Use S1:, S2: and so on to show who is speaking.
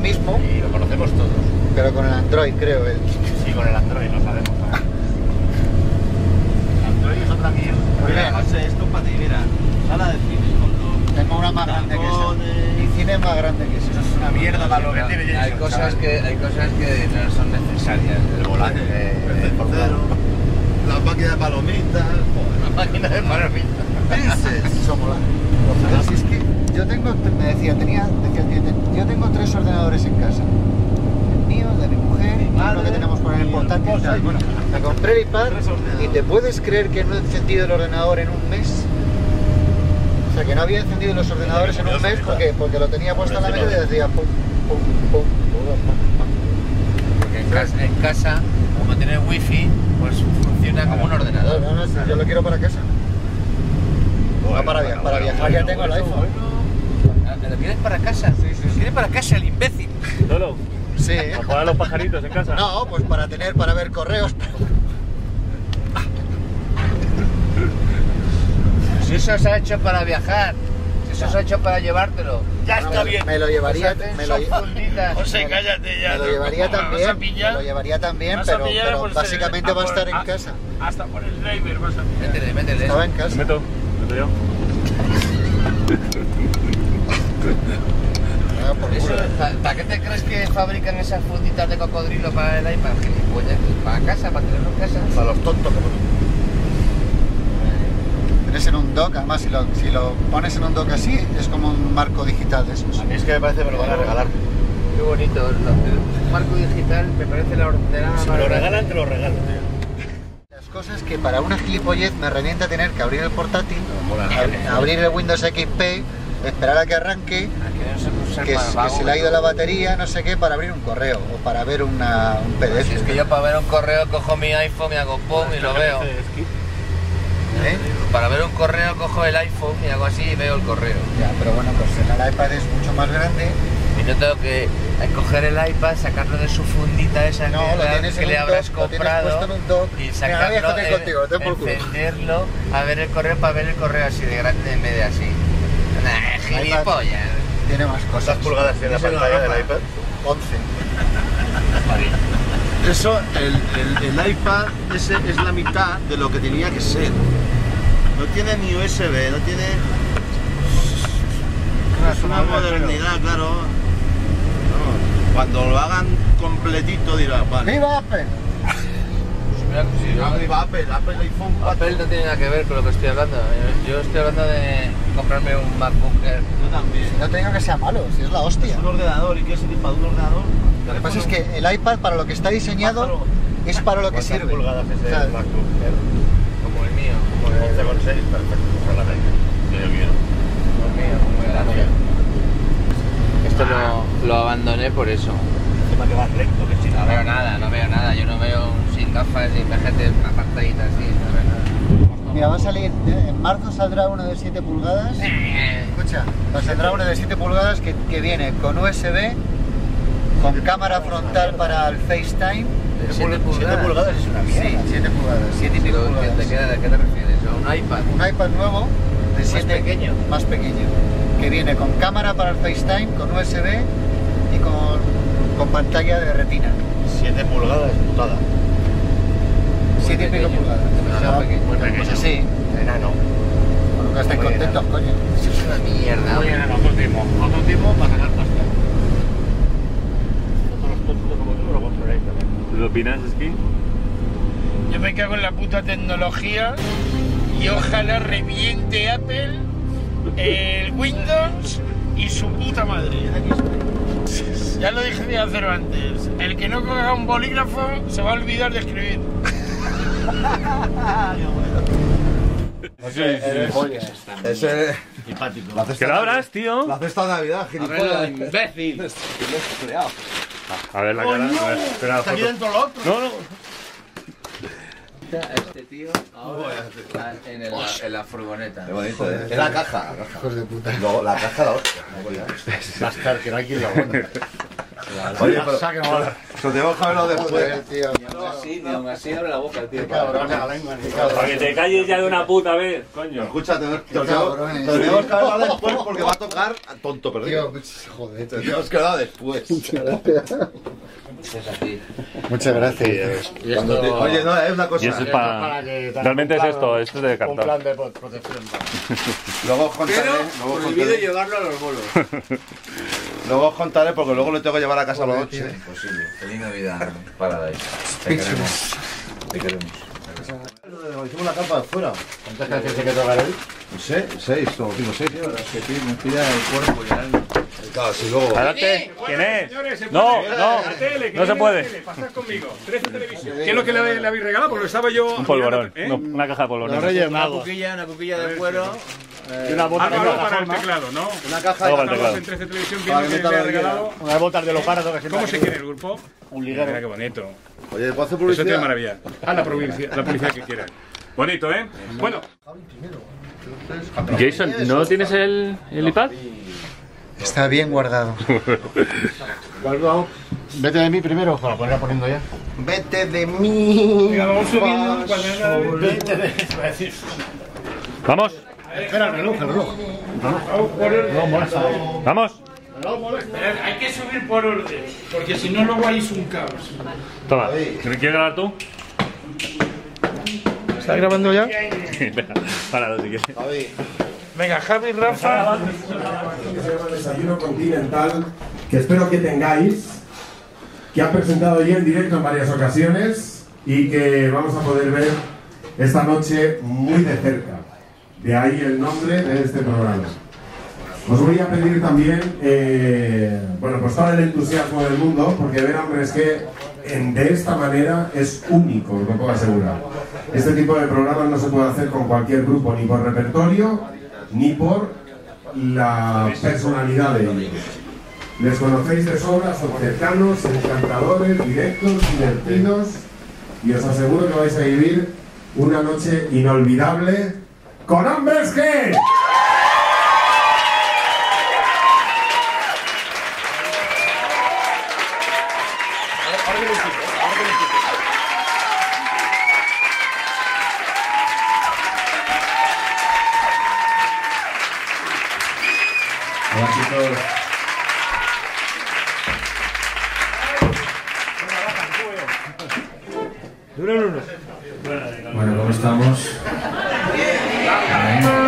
S1: mismo,
S2: Y lo conocemos todos.
S1: pero con el Android, creo. él.
S2: Sí, con el Android, lo sabemos. Android es otra mierda.
S1: Mira,
S3: José, es compatible, mira, sala de cine con todo.
S1: Tengo una más grande que esa. Mi cine es más grande que esa.
S2: Eso es una mierda para lo que
S4: Pero
S2: tiene
S4: hay
S2: Jason,
S4: cosas
S2: ¿sabes?
S4: que hay cosas que no son necesarias
S2: El volante,
S4: Eh,
S2: el portero,
S3: La máquina de palomitas,
S2: la máquina de palomitas.
S1: Eso mola. Pero si es que yo tengo, me decía, tenía, decía el cliente, yo tengo tres ordenadores en casa. El mío, el de mi mujer, y uno que tenemos por ahí en
S3: mi
S1: portátil.
S3: esposa
S1: tal.
S3: y bueno.
S1: me compré el iPad
S3: Tres ordenadores.
S1: y te puedes creer que no he encendido el ordenador en un mes. O sea, que no había encendido los ordenadores en un mes porque, porque lo tenía puesto en la mesa y decía pum, pum, pum, pum.
S4: porque en casa, en casa, como tiene wifi pues funciona como un
S1: No,
S4: ordenador
S1: no, no, si yo lo quiero para casa.
S2: Bueno,
S1: para via- para viajar ya tengo el iPhone.
S4: Ah, ¿te lo quieres para casa ¿Lo quieres para casa el imbécil
S5: Lolo,
S1: Sí.
S5: a jugar a los pajaritos en casa.
S1: No, pues para tener, para ver correos.
S4: si eso se ha hecho para viajar si eso se ha hecho para llevártelo
S2: Ya
S1: Me lo-
S2: Ah, está bien. Pues
S1: Me lo llevaría, me lo,
S4: son funditas
S2: José, cállate ya.
S1: me lo
S2: no,
S1: llevaría
S2: ¿cómo me vas
S1: también,
S2: a
S1: me
S2: pillar?
S1: lo llevaría también,
S2: Vas a
S1: pero,
S2: pillar
S1: pero
S2: por ser-
S1: básicamente
S2: a
S1: va a
S2: por- ah.
S1: estar en
S2: a-
S1: casa.
S2: Hasta por el driver vas a
S4: métele métele
S1: Estaba en
S5: Me
S1: casa.
S5: meto, me meto yo.
S1: Ah, por
S4: Eso,
S1: culo.
S4: ¿pa- ¿Para qué te crees que fabrican esas funditas de cocodrilo para el iPad? Gilipollas, para casa, para tenerlo en casa.
S1: Para los tontos como tú. Tienes en un dock, además si lo, si lo pones en un dock así, es como un marco digital de esos.
S2: A mí es que me parece que me lo van a regalar.
S4: Qué bonito, lo- el marco digital me parece la
S5: Ah,
S4: ordenada.
S2: Si me lo regalan, te lo regalo, tío.
S1: Las cosas que para una gilipollez me revienta tener que abrir el portátil, ab- abrir el Windows XP, esperar a que arranque, que,
S4: Que,
S1: s- que se le ha ido la batería, no sé qué, para abrir un correo o para ver una, un PDF.
S4: Si es que yo para ver un correo cojo mi iPhone y hago pum y lo veo.
S1: ¿eh?
S4: Para ver un correo cojo el iPhone y hago así y veo el correo.
S1: Ya, pero bueno, pues el iPad es mucho más grande.
S4: Y no tengo que coger el iPad, sacarlo de su fundita esa
S1: No,
S4: que,
S1: lo
S4: le-
S1: tienes
S4: que
S1: en
S4: le
S1: un
S4: habrás
S1: dock, lo tienes
S4: comprado
S1: puesto en un dock.
S4: y
S1: Mira,
S4: sacarlo,
S1: voy a joder
S4: en-
S1: contigo, ten por culo.
S4: encenderlo, a ver el correo para ver el correo así de grande en vez de así. Nah, gilipollas.
S1: Tiene más cosas.
S2: ¿Cuántas pulgadas tiene la
S1: Díselo a
S2: pantalla
S1: Rafa.
S2: del iPad?
S1: 11.
S3: Eso, el, el, el iPad ese es la mitad de lo que tenía que ser. No tiene ni USB, no tiene. Es una modernidad, claro. No, cuando lo hagan completito dirá, vale.
S1: ¡Viva Apple!
S3: Arriba Apple, Apple iPhone 4.
S4: Papel no tiene nada que ver con lo que estoy hablando. Yo estoy hablando de comprarme un MacBook Air.
S3: Yo también.
S1: No te digo que sea malo, si es la
S3: Es
S1: hostia.
S3: un ordenador y quieres ir para un ordenador.
S1: Lo que pasa es que el iPad para lo que está diseñado es para lo que
S2: ¿Cuántas
S1: sirve.
S2: pulgadas es
S1: O sea,
S2: el MacBook Air?
S4: Como el mío. Como el,
S2: 11,6, perfecto. Esa es la regla. Que yo quiero.
S4: como el mío, como el anterior. Esto lo, lo abandoné por eso.
S2: Encima que vas recto, que
S4: No veo
S2: chino.
S4: nada, no veo nada. Yo no veo un sin gafas y gente una pantallita así, no veo nada.
S1: Mira, va a salir, eh, en marzo saldrá uno de 7 pulgadas. Escucha, pues saldrá uno de 7 pulgadas que, que viene con USB, con cámara frontal para el FaceTime.
S4: De
S2: Siete pulgadas es una
S1: Sí,
S2: mierda.
S1: 7 pulgadas, 7 y pico
S4: Pero, ¿qué te,
S1: pulgadas.
S4: queda- ¿De qué te refieres? ¿A un iPad?
S1: un iPad nuevo de
S4: Más
S1: 7
S4: pequeño.
S1: más pequeño que viene con cámara para el FaceTime con USB y con, con pantalla de retina
S2: 7 pulgadas, putada.
S1: 7 y pico
S4: pequeño.
S1: pulgadas
S4: No, no, pequeño.
S2: Muy pequeño.
S1: pues así
S2: Enano.
S1: bueno, que estáis
S2: Muy
S1: contentos coño
S4: Eso es una mierda. hombre.
S2: otro timo. Otro timo para ganar pasta. Otros tontos como tú lo controláis también.
S5: ¿Tú ¿Lo opinas, Esqui?
S6: Yo me cago en la puta tecnología y ojalá reviente Apple, el Windows y su puta madre. Aquí estoy. Ya lo dije de hacer antes. El que no coja un bolígrafo se va a olvidar de escribir.
S3: Eso es.
S5: ¡Que lo abras, tío!
S3: La cesta de Navidad, gilipollas.
S4: imbécil!
S5: A ver la cara. a ver, espera, la
S2: Está aquí
S5: foto.
S2: dentro lo otro.
S5: No, no.
S4: Este tío ahora está en, el- en la furgoneta.
S3: Qué bonito, ¿eh? Es la caja, la caja.
S1: hijos de puta
S3: Luego, la caja la hostia.
S2: Va a estar, que no hay quien lo aguante.
S3: Oye, pero,
S2: Saca, no vale.
S3: Eso tenemos que verlo
S1: Joder,
S3: después.
S1: tío.
S7: Sí, ni aún así abre la boca el tío.
S1: Qué cabrones. Qué
S5: Para que
S1: cabrones.
S5: te calles ya de una puta vez, coño.
S3: Escucha, tenemos
S1: Qué cabrones.
S2: eh.
S3: tenemos que verlo después porque va a tocar a tonto perdido.
S1: Tío, joder, tío.
S3: Tenemos que verlo después.
S7: Es así.
S1: Muchas gracias.
S7: Y esto-
S3: Oye, no, es una
S5: Y eso
S3: cosa.
S5: es para... Realmente es esto, esto es de
S2: Un
S5: cartón.
S2: plan de protección.
S3: Luego os contaré. Luego os
S7: Prohibido
S3: contaré.
S7: llevarlo a los bolos.
S3: Luego os contaré porque luego lo tengo que llevar a casa a la noche. ¿eh?
S7: Imposible. Feliz Navidad, Paradise. Te queremos. Te queremos.
S3: Hicimos la campa de fuera.
S2: ¿Cuántas canciones hay que tocar hoy?
S3: No sé, seis o cinco, seis.
S7: que me tira el cuerpo y el alma.
S3: Claro, si luego.
S5: Adelante. ¿Quién es? No, no, no se puede.
S8: Pasad conmigo. 13 televisión. ¿Qué es lo que le, le habéis regalado? Porque lo estaba yo.
S5: Un polvorón.
S8: ¿Eh?
S5: No, una caja de polvorón.
S7: Una cuquilla, una cuquilla de cuero.
S8: Ah, no, no, para el teclado, ¿no?
S3: Una caja
S5: Luego al
S8: Estamos
S5: teclado.
S8: en 13 televisión viendo que le ha regalado. Eh,
S2: Unas botas de Leopardo. que
S8: ¿Cómo se quiere el grupo? Un
S2: liguero.
S8: Mira qué bonito.
S3: Oye, ¿puedo hacer
S8: Eso tiene
S3: publicidad?
S8: maravilla. A la provincia, la publicidad que quieran. Bonito, ¿eh? Bueno,
S5: Jason, ¿no tienes el, el iPad?
S1: Está bien guardado.
S2: Vete de mí primero. Para ponerla poniendo ya.
S1: Vete de mí.
S8: vamos subiendo un cuaderno.
S5: Vamos,
S2: Espera, el reloj, el reloj.
S5: vamos.
S8: Hay que subir por orden, porque si no, luego hay un caos.
S5: Toma. ¿Quieres grabar tú?
S4: ¿Estás grabando ya?
S5: Venga, páralo si quieres.
S4: Venga, Javi, Rafa.
S9: programa Desayuno Continental que espero que tengáis, que ha presentado ya en directo en varias ocasiones y que vamos a poder ver esta noche muy de cerca. De ahí el nombre de este programa. Os voy a pedir también, eh, bueno, pues todo el entusiasmo del mundo, porque ver hombre, es que en- de esta manera es único, os lo puedo asegurar. Este tipo de programas no se puede hacer con cualquier grupo, ni por repertorio, ni por la personalidad de ellos. Les conocéis de sobra, son cercanos, encantadores, directos, divertidos, y os aseguro que vais a vivir una noche inolvidable con hombres que... Hola chicos. Bueno, ¿cómo estamos? Bien.